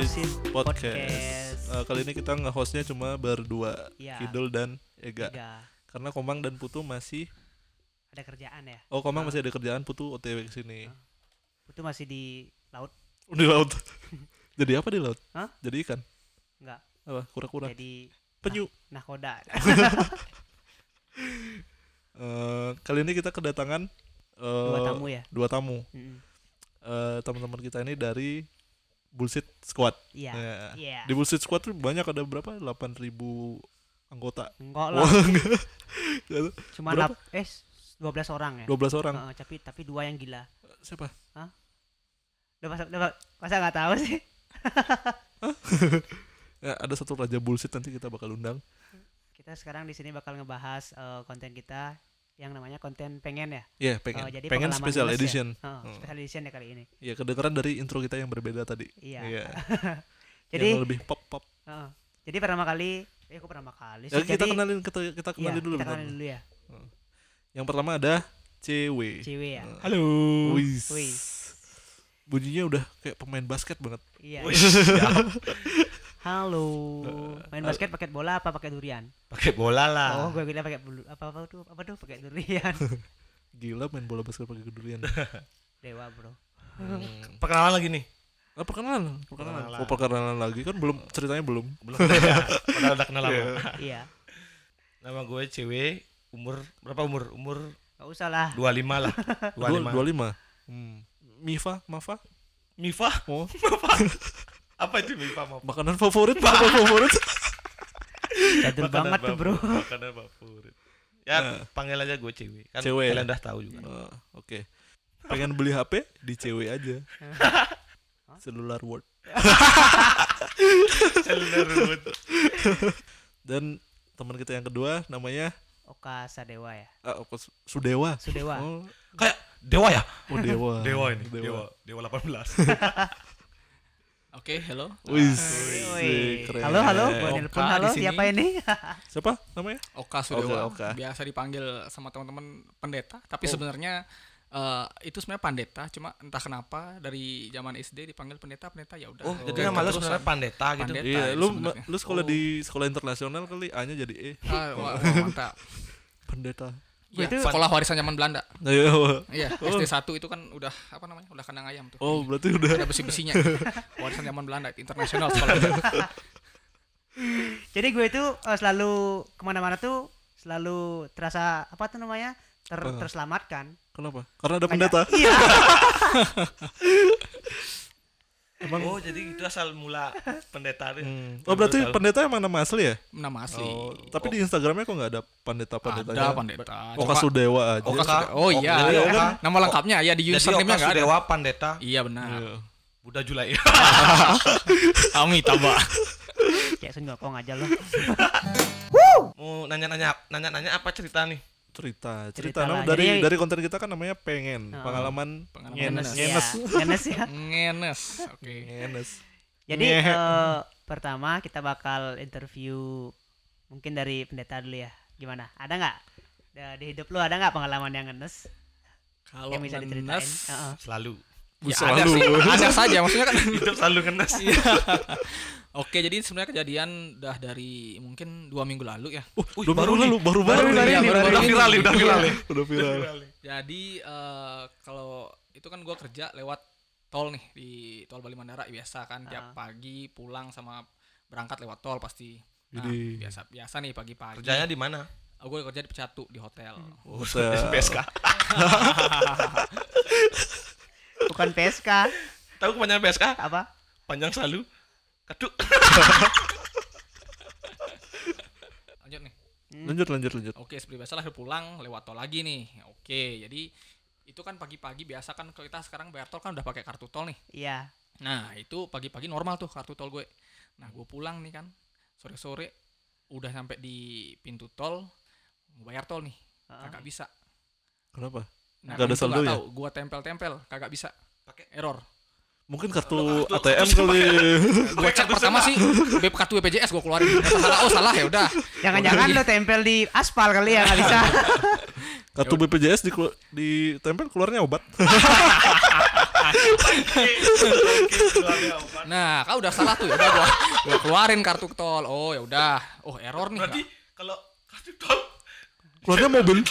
podcast. Podcast. Eh, kali ini kita nge-hostnya cuma berdua, Ya. Kidul dan Ega. Tiga. Karena Komang dan Putu masih Iya, Ada kerjaan ya. Oh, Komang Ah. masih ada kerjaan, Putu OTW ke sini. Itu masih di laut Di laut. Jadi apa di laut? Ah. Hah? Jadi ikan. enggak? Apa? Kura-kura. Jadi Penyu. nahkoda. Eh, kali ini kita kedatangan eh, Dua tamu ya. Dua tamu. Mm-mm. Eh, teman-teman kita ini dari Bullshit Squad. Iya. Ya. Iya. Di Bullshit Squad tuh banyak ada berapa? 8000 anggota. Enggak Wah, lah. Oh, enggak. Jadi, Cuma berapa? lap- eh 12 orang ya. 12 orang. Heeh, tapi tapi dua yang gila. Siapa? Udah masa udah masa nggak tahu sih. Ya, ada satu raja bullshit nanti kita bakal undang. Kita sekarang di sini bakal ngebahas eh, konten kita yang namanya konten pengen ya. Iya, pengen. Oh, jadi pengen pengalaman special minus ya? edition. Heeh, Hmm. special edition ya kali ini. Iya, kedengeran dari intro kita yang berbeda tadi. Iya. Jadi Jadi lebih pop pop. heeh. jadi pertama kali eh kok pertama kali sih. Ya, kita Jadi- kenalin kita kita iya, kenalin dulu. Kita bentar. kenalin dulu ya. Yang pertama ada CW. Cewek ya. Nah, Halo. Wis. Wis. Bunyinya udah kayak pemain basket banget. Iya. Wih, siap. Halo. Eh, Main halo. basket pakai bola apa pakai durian? Pakai bola lah. Oh, gue bilang pakai bulu apa apa tuh? Apa tuh pakai durian? Gila main bola basket pakai durian. Dewa, Bro. hmm. Perkenalan lagi nih. Ah, perkenalan, perkenalan. Perkenalan. Oh, perkenalan lagi kan belum ceritanya belum. Belum kenal. Padahal udah kenal lama. iya. Nama gue CW, umur berapa umur? Umur Gak usah lah. 25 lah. Dua 25. dua lima. Hmm. Mifa, Mafa, Mifa? oh, Apa itu Mifa mau? makanan favorit, makanan favorit. Jadul banget tuh, Bro. Makanan favorit. Ya, Nah. panggil aja gue CW. Kan CW. kalian udah tahu juga. Ah, Oke. Pengen beli HP di cewek aja. Cellular World. Celerut. Dan teman kita yang kedua namanya Oka Sadewa ya. ah, apa, Su- Sudewa. Sudewa. Oh, Kayak dewa ya? oh, Dewa. Dewa ini. Dewa. Dewa. Dewa, 18. Oke, hello. Wis, Woi. keren. Halo, halo. Gue Oka nelpon di halo. sini. Siapa ini? Siapa namanya? Oka Sudewa. Oka, Oka. Biasa dipanggil sama teman-teman pendeta, Oh. tapi sebenarnya eh, itu sebenarnya pendeta, cuma entah kenapa dari zaman SD dipanggil pendeta, pendeta ya udah. Ah, Oh, Oke, jadi nama lu keterusan. sebenarnya pandeta gitu. Pandeta Iya, itu lu sebenarnya. lu sekolah di sekolah internasional kali A-nya jadi E, Ah, wah, wah, mantap. pendeta. Gua Iya, itu- sekolah warisan zaman Belanda. Nah, iya, wah. Iya, Oh. SD 1 itu kan udah apa namanya? Udah kandang ayam tuh. Oh, berarti udah Ada besi-besinya. warisan zaman Belanda internasional sekolah. Jadi gue itu eh, selalu kemana-mana tuh selalu terasa apa tuh namanya? Ter, Apa? terselamatkan. kenapa? Karena ada Makanya- pendeta. Iya. Oh, jadi itu asal mula pendeta itu. Hmm. Oh, berarti Tahu. pendeta emang nama asli ya? Nama asli. Oh, tapi di Instagramnya kok nggak ada pendeta-pendetanya? ada pendeta. Oka Cuma- Sudewa aja. Oka Sudewa. Oh iya. Jadi Iya Oka. Nama lengkapnya ya di Jadi username-nya Oka enggak ada. Sudewa Pandeta Iya benar. Iya. Buddha Julai. Amitabha. Kayak senyokong aja loh. Mau nanya-nanya nanya-nanya apa cerita nih? cerita Cerita cerita nama lah. dari Jadi- dari konten kita kan namanya pengen Heeh. pengalaman Pengalaman ngenes ngenes. Iya. ngenes Iya, ngenes ya. Ngenes. Oke. ngenes Jadi Ngehe. eh, pertama kita bakal interview mungkin dari pendeta dulu ya. Gimana? Ada nggak Da- di hidup lu ada nggak pengalaman yang ngenes Kalau yang bisa diceritain? ngenes, Heeh. Selalu. ya ada selalu sih, ada saja maksudnya kan. Hidup selalu ngenes. Iya. Oke, jadi sebenarnya kejadian dah dari mungkin dua minggu lalu ya. Wih, dua baru lalu baru Baru baru ini. ini, baru Udah ini. viral, nih, udah viral. nih. udah viral Jadi eh, kalau itu kan gua kerja lewat tol nih di tol Bali Mandara biasa kan tiap pagi pulang sama berangkat lewat tol pasti. Nah, Jadi- biasa biasa nih pagi-pagi. Kerjanya di mana? Eh, Aku kerja di Pecatu di hotel. Buset. PSK. Bukan PSK Tahu kepanjangan PSK? apa? Panjang selalu. Keduk. Lanjut nih. lanjut lanjut lanjut Oke, seperti biasa lah pulang lewat tol lagi nih. Oke, jadi itu kan pagi-pagi biasa kan kalau kita sekarang bayar tol kan udah pakai kartu tol nih. Iya. Nah, itu pagi-pagi normal tuh kartu tol gue. Nah, gue pulang nih kan. Sore-sore udah sampai di pintu tol mau bayar tol nih. Heeh. Kagak bisa. kenapa Nggak ada Nah, pintu nggak saldonya? tahu, Gua tempel-tempel, kagak bisa. Pakai error. mungkin kartu ATM kali Gue cek pertama sih BEP kartu BPJS gue keluarin. Ternyata salah, oh salah ya udah. Jangan-jangan lu tempel di aspal kali ya nggak bisa. Kartu BPJS di ditempel keluarnya obat. Nah, kau udah salah tuh. Udah gua, gua keluarin kartu tol. Oh, ya udah. Oh, error nih. Berarti kalau kartu tol Keluarnya mobil.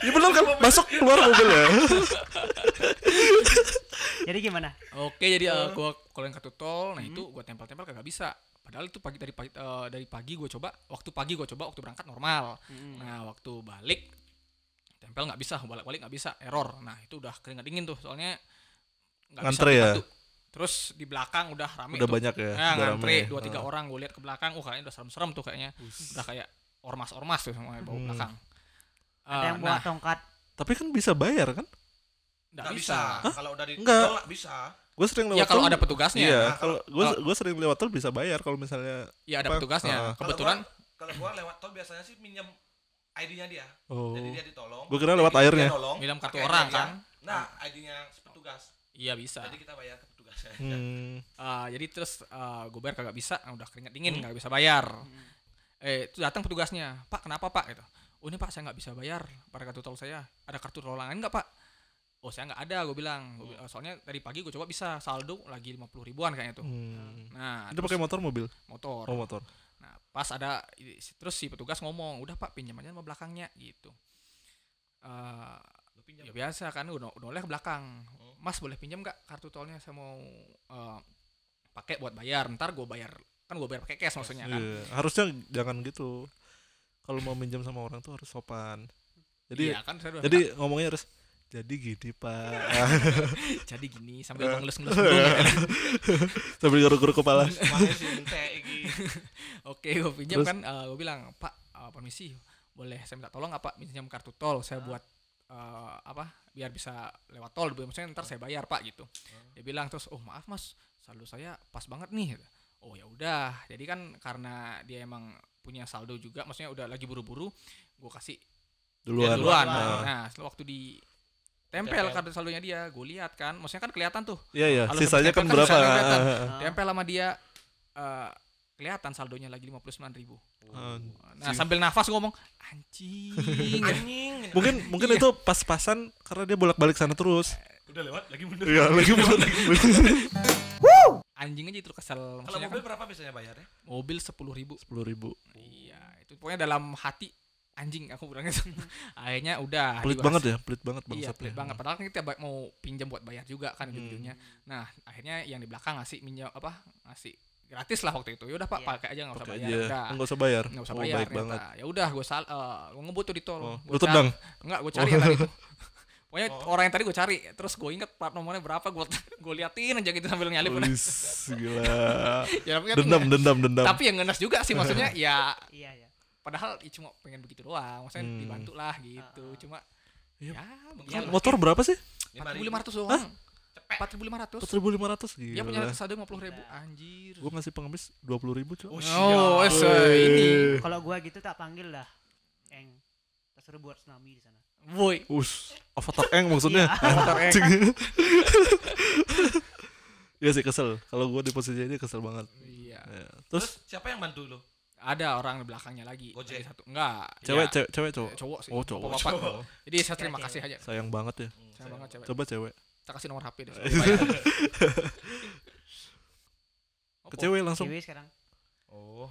ya benar kan masuk keluar mobil ya. Jadi gimana? Oke, jadi eh, gua keluarin kartu tol. Nah, itu gua tempel-tempel kagak bisa. Padahal itu pagi dari pagi eh, dari pagi gua coba, waktu pagi gua coba, waktu berangkat normal. Nah, waktu balik tempel nggak bisa, balik-balik nggak bisa, error. Nah, itu udah keringat dingin tuh. Soalnya nggak bisa Ngantre ya? dibantu. Terus di belakang udah rame Udah tuh. banyak ya. Nah, udah ngantri rame. Nah, dua tiga Ah. orang gue lihat ke belakang, oh kayaknya udah serem-serem tuh kayaknya. Udah kayak ormas-ormas tuh semua bau Hmm. belakang. Ada Eh, yang nah, bawa tongkat. Tapi kan bisa bayar kan? nggak nggak bisa. bisa. Kalau udah di Enggak. tol nggak bisa. Gue sering lewat. Ya kalau tol- ada petugasnya. Nah, Iya, Nah, kalau gue gue sering lewat tol bisa bayar kalau misalnya Ya ada Apa? petugasnya. Ah. Kalau Kebetulan gua- kalau gua lewat tol biasanya sih minjem ID-nya dia. oh Jadi dia ditolong. Gua kira Dia- lewat dia airnya. nolong, Bilang kartu pakai ID orang, dia. kan? Nah, ID-nya petugas. iya bisa. Jadi kita bayar ke petugasnya. hmm, Eh, jadi terus eh, gue bayar kagak bisa, nah, udah keringat dingin nggak bisa bayar. Eh itu datang petugasnya, Pak kenapa Pak gitu. Oh ini Pak saya nggak bisa bayar pada kartu tol saya. Ada kartu tol lain nggak Pak? Oh saya nggak ada, gue bilang. Gua bi- Soalnya dari pagi gue coba bisa saldo lagi 50 ribuan kayaknya tuh. hmm. Nah Dia terus pakai motor mobil, motor. oh motor. Nah, pas ada terus si petugas ngomong, "Udah Pak, pinjam aja sama belakangnya." gitu. Eh, ya biasa kan udah udah oleh ke belakang. Mas boleh pinjam nggak kartu tolnya saya mau eh, pakai buat bayar. Ntar gue bayar kan gue bayar pakai cash maksudnya kan. Iya, harusnya jangan gitu. Kalau mau minjam sama orang tuh harus sopan. Jadi Iya, kan saya udah jadi ngomongnya harus jadi gini pak jadi gini sambil ngelus-ngelus hidung ya. sambil garuk-garuk kepala Makanya sih ente iki. Oke, gue pinjam Terus? kan, gue bilang Pak, eh, permisi, boleh saya minta tolong apa pinjam kartu Ah. tol, saya buat eh, apa biar bisa lewat tol, maksudnya ntar saya bayar Pak gitu. Ah. Dia bilang terus, oh maaf Mas, saldo saya pas banget nih. Oh ya udah, jadi kan karena dia emang punya saldo juga, maksudnya udah lagi buru-buru, gue kasih dia duluan, duluan. Nah, Nah, waktu di tempel Tempel. kartu saldonya dia, gue lihat kan, maksudnya kan kelihatan tuh iya iya Kalau sisanya kan sempet berapa kan sisanya kelihatan. Ah, ah, Ah. tempel sama dia eh, kelihatan saldonya lagi 59.000 ribu. ah. Nah sambil nafas gua ngomong anjing. Anjing. mungkin mungkin Iya. itu pas-pasan karena dia bolak-balik sana terus Udah lewat lagi mundur. iya lagi mulut. anjing aja itu kesel. Kalau Maksudnya mobil mobil, berapa biasanya bayarnya? kan, mobil sepuluh ribu. sepuluh ribu Iya itu pokoknya dalam hati anjing aku bilangnya. Akhirnya udah. pelit banget dibahas. ya pelit banget bang Iya pelit banget. Padahal kan kita ba- mau pinjam buat bayar juga kan ujung-ujungnya. Nah akhirnya yang di belakang ngasih minjam apa ngasih gratis lah waktu itu. Ya udah pak Iya. pakai aja nggak usah Pakai bayar. aja Udah. nggak usah bayar Nggak usah oh, bayar baik ternyata. banget Ya udah gue sal eh, gua ngebut tuh di tol. Oh, lu Gua cari- tendang? Enggak, gue cari yang tadi tuh. Pokoknya Oh. orang yang tadi gue cari, terus gue inget plat nomornya berapa, gue gue liatin aja gitu sambil nyalip. Wis, gila ya, tapi, kan dendam nge- dendam dendam tapi yang ngenes juga sih maksudnya ya Iya, iya. padahal ya cuma pengen begitu doang, maksudnya Hmm. dibantu lah gitu. Ah. Cuma Iya. ya Kan begini. motor berapa sih Empat ribu lima ratus doang. Empat ribu lima ratus. empat ribu lima ratus Dia punya gila saldo lima puluh ribu. Anjir. gue ngasih pengemis dua puluh ribu cuy Oh, se ini. Kalau gua gitu tak panggil lah. Eng. Tak suruh buat tsunami di sana. Woi. Us, avatar eng maksudnya. Iya, Anjing. Iya sih kesel. Kalau gue di posisi ini kesel banget. Iya. Ya. Terus Terus siapa yang bantu lu? Ada orang di belakangnya lagi. Gojek. Lagi Satu. Enggak. cewek ya. Iya. cewek cewek cowok. cowok sih. Oh, cowok. Bapak-bapak. Cowok. Jadi saya terima kasih aja. Sayang banget ya. Sayang banget cewek. Coba cewek. Kita kasih nomor HP deh. Ke cewek langsung. Cewek sekarang. Oh.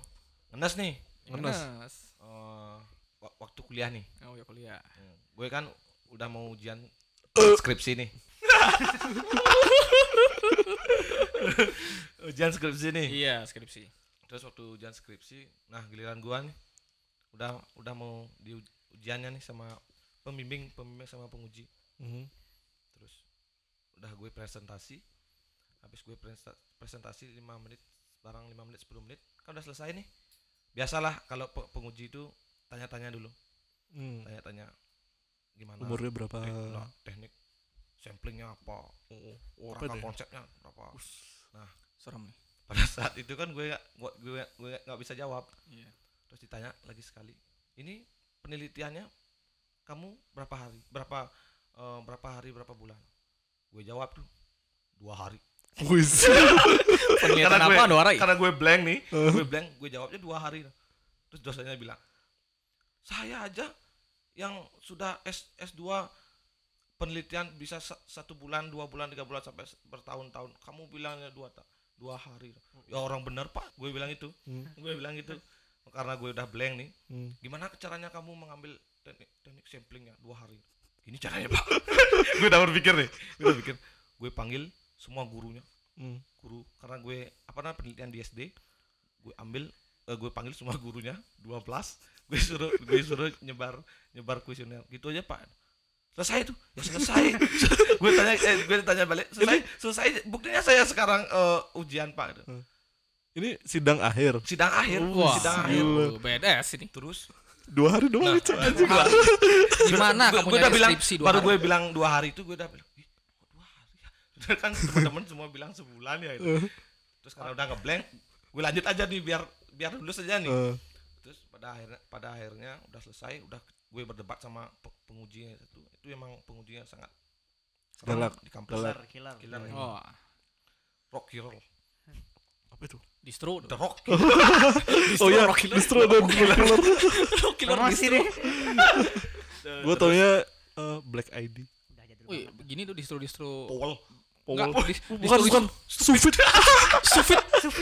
Ngenes nih. Ngenes. Ngenes. Eh, wa- waktu kuliah nih. Oh ya kuliah. Hmm. Gue kan udah mau ujian skripsi nih. ujian skripsi nih. Iya, skripsi. Terus waktu ujian skripsi, nah giliran gua nih udah udah mau di uj- ujiannya nih sama pembimbing, pembimbing sama penguji. Mhm. Terus udah gue presentasi. Habis gue presta- presentasi 5 menit, barang 5 menit 10 menit, kan udah selesai nih. Biasalah kalau pe- penguji itu tanya-tanya dulu, Hmm. tanya-tanya gimana Umurnya berapa? teknik, nah, teknik samplingnya apa, eh, Apa oh, ya? rangka deh? konsepnya berapa. Serem nih. Pada saat itu kan gue nggak gue gue gue nggak bisa jawab. Iya. terus ditanya lagi sekali ini penelitiannya kamu berapa hari berapa eh, berapa hari berapa bulan gue jawab tuh dua hari Wis. Penelitian apa ada orang? karena gue blank nih gue blank gue jawabnya dua hari terus dosennya bilang saya aja yang sudah S S2 penelitian bisa sa- satu bulan, dua bulan, tiga bulan sampai se- bertahun-tahun. Kamu bilangnya dua ta- dua hari. Ya orang bener pak, gue bilang itu, Hmm. gue bilang itu karena gue udah blank nih. Hmm. Gimana caranya kamu mengambil teknik teknik samplingnya dua hari? Ini caranya pak. gue udah berpikir nih, gue udah pikir. Gue panggil semua gurunya, Hmm. guru karena gue apa namanya penelitian di SD gue ambil eh, gue panggil semua gurunya 12 gue suruh gue suruh nyebar nyebar kuesioner gitu aja pak selesai tuh ya selesai gue tanya eh, gue tanya balik selesai selesai buktinya saya sekarang eh, ujian pak Ini sidang akhir. sidang akhir sidang akhir aduh, BDS ini. terus Dua hari doang Nah, Cok. Gimana gue kamu udah nyari bilang skripsi dua baru hari? gue bilang dua hari itu gue udah bilang "Ih, kok dua hari ya?" Udah kan teman-teman semua bilang sebulan ya eh. gitu. terus karena udah ngeblank gue lanjut aja nih biar biar lulus aja nih Eh, terus pada akhirnya pada akhirnya udah selesai udah gue berdebat sama pe- pengujinya itu itu emang pengujinya sangat serem Galak, di kampus galak. Killer, killer. Killer. Oh, rock hero Apa itu? distro. the rock Oh iya, rock killer. distro dan killer. Rock killer Promosi distro. deh. Gue taunya eh, Black ID. Udah jadul Wih, banget. begini tuh distro distro. Paul Enggak, Powell. dis- bukan, distro- bukan. Sufit. Sufit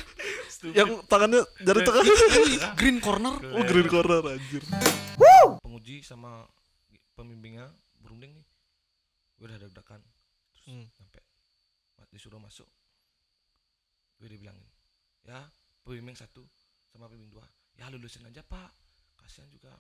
Yang tangannya jari tengah. green corner. Oh, green corner anjir. penguji sama pembimbingnya berunding nih gue udah deg-degan terus Hmm. nyampe ma- disuruh masuk gue dibilangin ya pembimbing satu sama pembimbing dua ya lulusin aja pak kasihan juga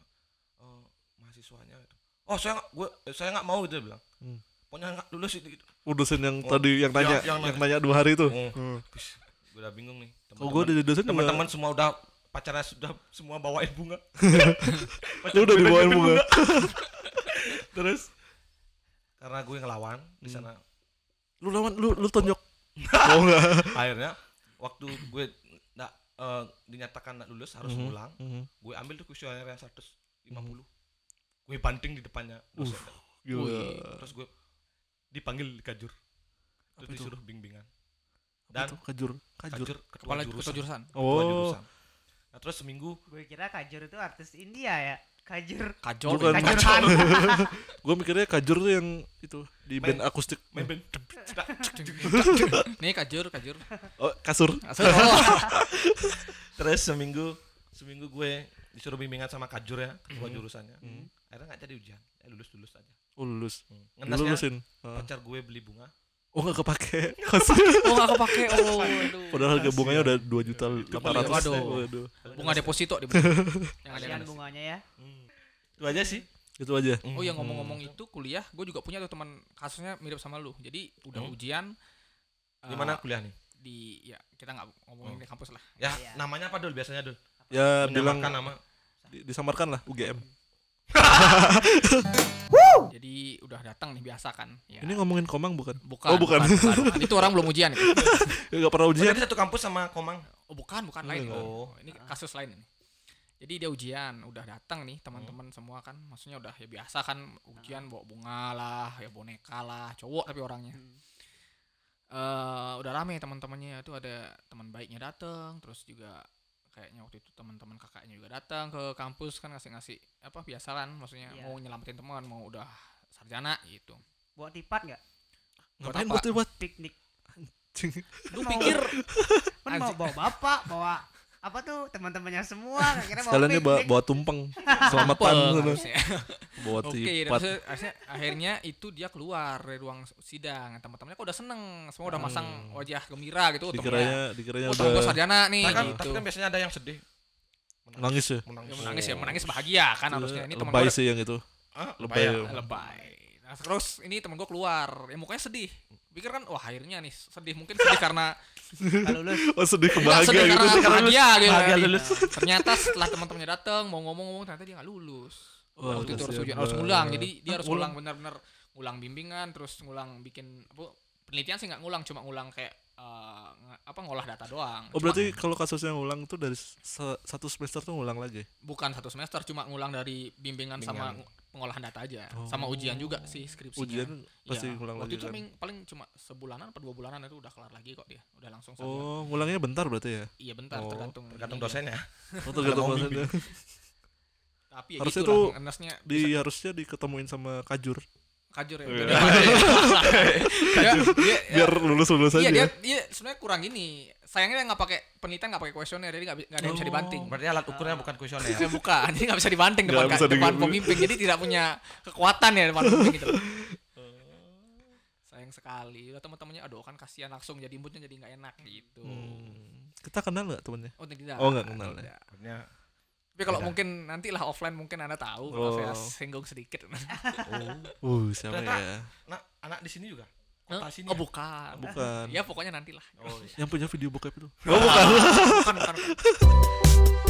eh, mahasiswanya gitu. oh saya nggak- gue eh, saya nggak mau gitu dia bilang Hmm. pokoknya nggak lulus gitu, gitu. Oh, dosen yang Oh, tadi yang nanya, yang- yang yang, nanya dua hari itu. Oh. Hmm. Terus gue udah bingung nih Oh, gue udah jadi dosen juga. teman-teman semua udah pacarnya sudah semua bawain bunga Dia Ya udah dibawain bunga. terus karena gue ngelawan di Hmm. sana Lu lawan lu lu tonjok. Mau enggak? akhirnya waktu gue nggak eh, dinyatakan nggak lulus harus pulang Mhm. gue ambil tuh kuesioner yang 150 gue banting di depannya dosen. Wih. Gila. terus gue dipanggil di kajur terus Apa itu? disuruh bimbingan Dan dan kajur, kajur. kajur ketua Kepala jurusan, ketua jurusan. Ketua Oh, jurusan. nah terus seminggu Gue kira Kajur itu artis India ya. Kajur. Kajol. Bukan. Kajol. Kajur Kacau. gue mikirnya kajur tuh yang itu di Main- band akustik. main band Nih kajur, kajur. Oh, kasur. Asal. Oh, terus seminggu seminggu gue disuruh bimbingan sama kajur ya ketua jurusannya Mhm. akhirnya nggak jadi ujian ya lulus lulus aja Oh, lulus. hmm. Lu ngendasnya lulusin. Ah. pacar gue beli bunga Oh, enggak kepake. enggak kepake. Oh, aduh. Padahal harga bunganya udah 2 juta beli- 800. waduh. Iya. Waduh. bunga deposito di yang ada Kasihan di- bunganya ya. Hmm. itu aja sih Itu aja. Oh ya ngomong-ngomong itu kuliah, gue juga punya tuh teman kasusnya mirip sama lu. Jadi udah Hmm. ujian eh, di mana kuliah nih di ya kita nggak Oh. ngomongin di kampus lah. ya Iya. namanya apa dul biasanya dul Ya bilang menyamarkan nama di- disamarkan lah UGM. Jadi udah datang nih biasa kan. Ya. Ini ngomongin Komang bukan? Oh, bukan, bukan. bukan, bukan. Itu orang belum ujian. Itu. Ya, Nggak pernah Oh, ujian. tadi satu kampus sama komang Oh bukan, bukan lain. Enggak. Oh, ini kasus lain ini. Jadi dia ujian, udah datang nih teman-teman semua kan. Maksudnya udah ya biasa kan ujian bawa bunga lah, ya boneka lah, cowok tapi orangnya. Hmm. eh udah rame teman-temannya itu ada teman baiknya datang, terus juga kayaknya waktu itu teman-teman kakaknya juga datang ke kampus kan ngasih-ngasih apa biasa kan maksudnya Iya. mau nyelamatin teman, mau udah sarjana gitu. Bawa tipat nggak? Ngapain apa? buat buat Piknik. Lu Mau- pikir Kan mau Anjing. bawa bapak, bawa apa tuh teman-temannya semua kira bawa Sekalian dia bawa, piknik. bawa tumpeng. Selamatan Peng, sana. harusnya. Bawa Oke, dan tipat. maksudnya- akhirnya, akhirnya itu dia keluar dari ruang sidang. Teman-temannya kok udah seneng, semua udah masang wajah gembira gitu. temennya. Hmm. Dikiranya dikiranya Oh, temen gue udah sarjana nih Tapi kan, gitu. tapi kan biasanya ada yang sedih nangis ya. menangis, Ya, menangis ya, menangis bahagia kan harusnya. Ini teman lebay gue sih yang itu. Ah, Lebay. lebay ya. lebay. Nah, terus ini teman gue keluar, ya mukanya sedih. Pikir kan, wah akhirnya nih sedih mungkin sedih karena Kalau lulus Oh sedih Enggak, kebahagia sedih gitu. karena bahagia gitu. Bahagia kan. lulus. Nah, Ternyata setelah teman-temannya datang mau ngomong-ngomong ternyata dia nggak lulus. Wah, Waktu itu harus kasihan ujian, harus banget. ngulang. Jadi dia harus ngulang. ngulang benar-benar ngulang bimbingan, terus ngulang bikin apa penelitian sih nggak ngulang, cuma ngulang kayak eh, nge- apa ngolah data doang. Oh Cuma berarti kalau kasusnya ngulang tuh dari se- satu semester tuh ngulang lagi. bukan satu semester, cuma ngulang dari bimbingan sama Bimbingan. ngu- pengolahan data aja, sama ujian juga sih skripsinya. Oh. Ujian pasti Iya. ngulang Waktu lagi itu kan. ming- paling cuma sebulanan atau dua bulanan itu udah kelar lagi kok dia, udah langsung sarjana. Oh, ngulangnya bentar berarti ya. Iya bentar Oh, tergantung tergantung ininya. dosennya Oh, Kalau tergantung mau dosennya. Nah, Tapi ya Harusnya gitu tuh lah, ngenasnya di harusnya diketemuin sama kajur kajur ya. Iya. Dia- dia- biar lulus lulus Iya aja ya. dia, dia sebenarnya kurang ini. Sayangnya dia nggak pakai penelitian nggak pakai kuesioner, jadi nggak bi- nggak ada yang bisa Oh. dibanting. Berarti alat ukurnya bukan kuesioner. Eh, bukan, ini nggak bisa dibanting Nggak depan, ka- bisa di- depan pemimpin, jadi tidak punya kekuatan ya depan pemimpin gitu. Sayang sekali, udah teman-temannya, aduh kan kasihan langsung jadi imutnya jadi nggak enak gitu. Hmm. kita kenal nggak temennya Oh tidak. Oh, nggak kenal ya. tidak. Sebenarnya Tapi kalau Tidak. mungkin nantilah offline mungkin anda tahu kalau Iya. Oh. saya singgung sedikit. uh siapa Ternyata- ya anak Nah, anak di sini juga. Kota sini. ya? oh bukan. bukan Ya pokoknya nantilah. Oh, yang iya. punya video bokep itu bukan. bukan, bukan.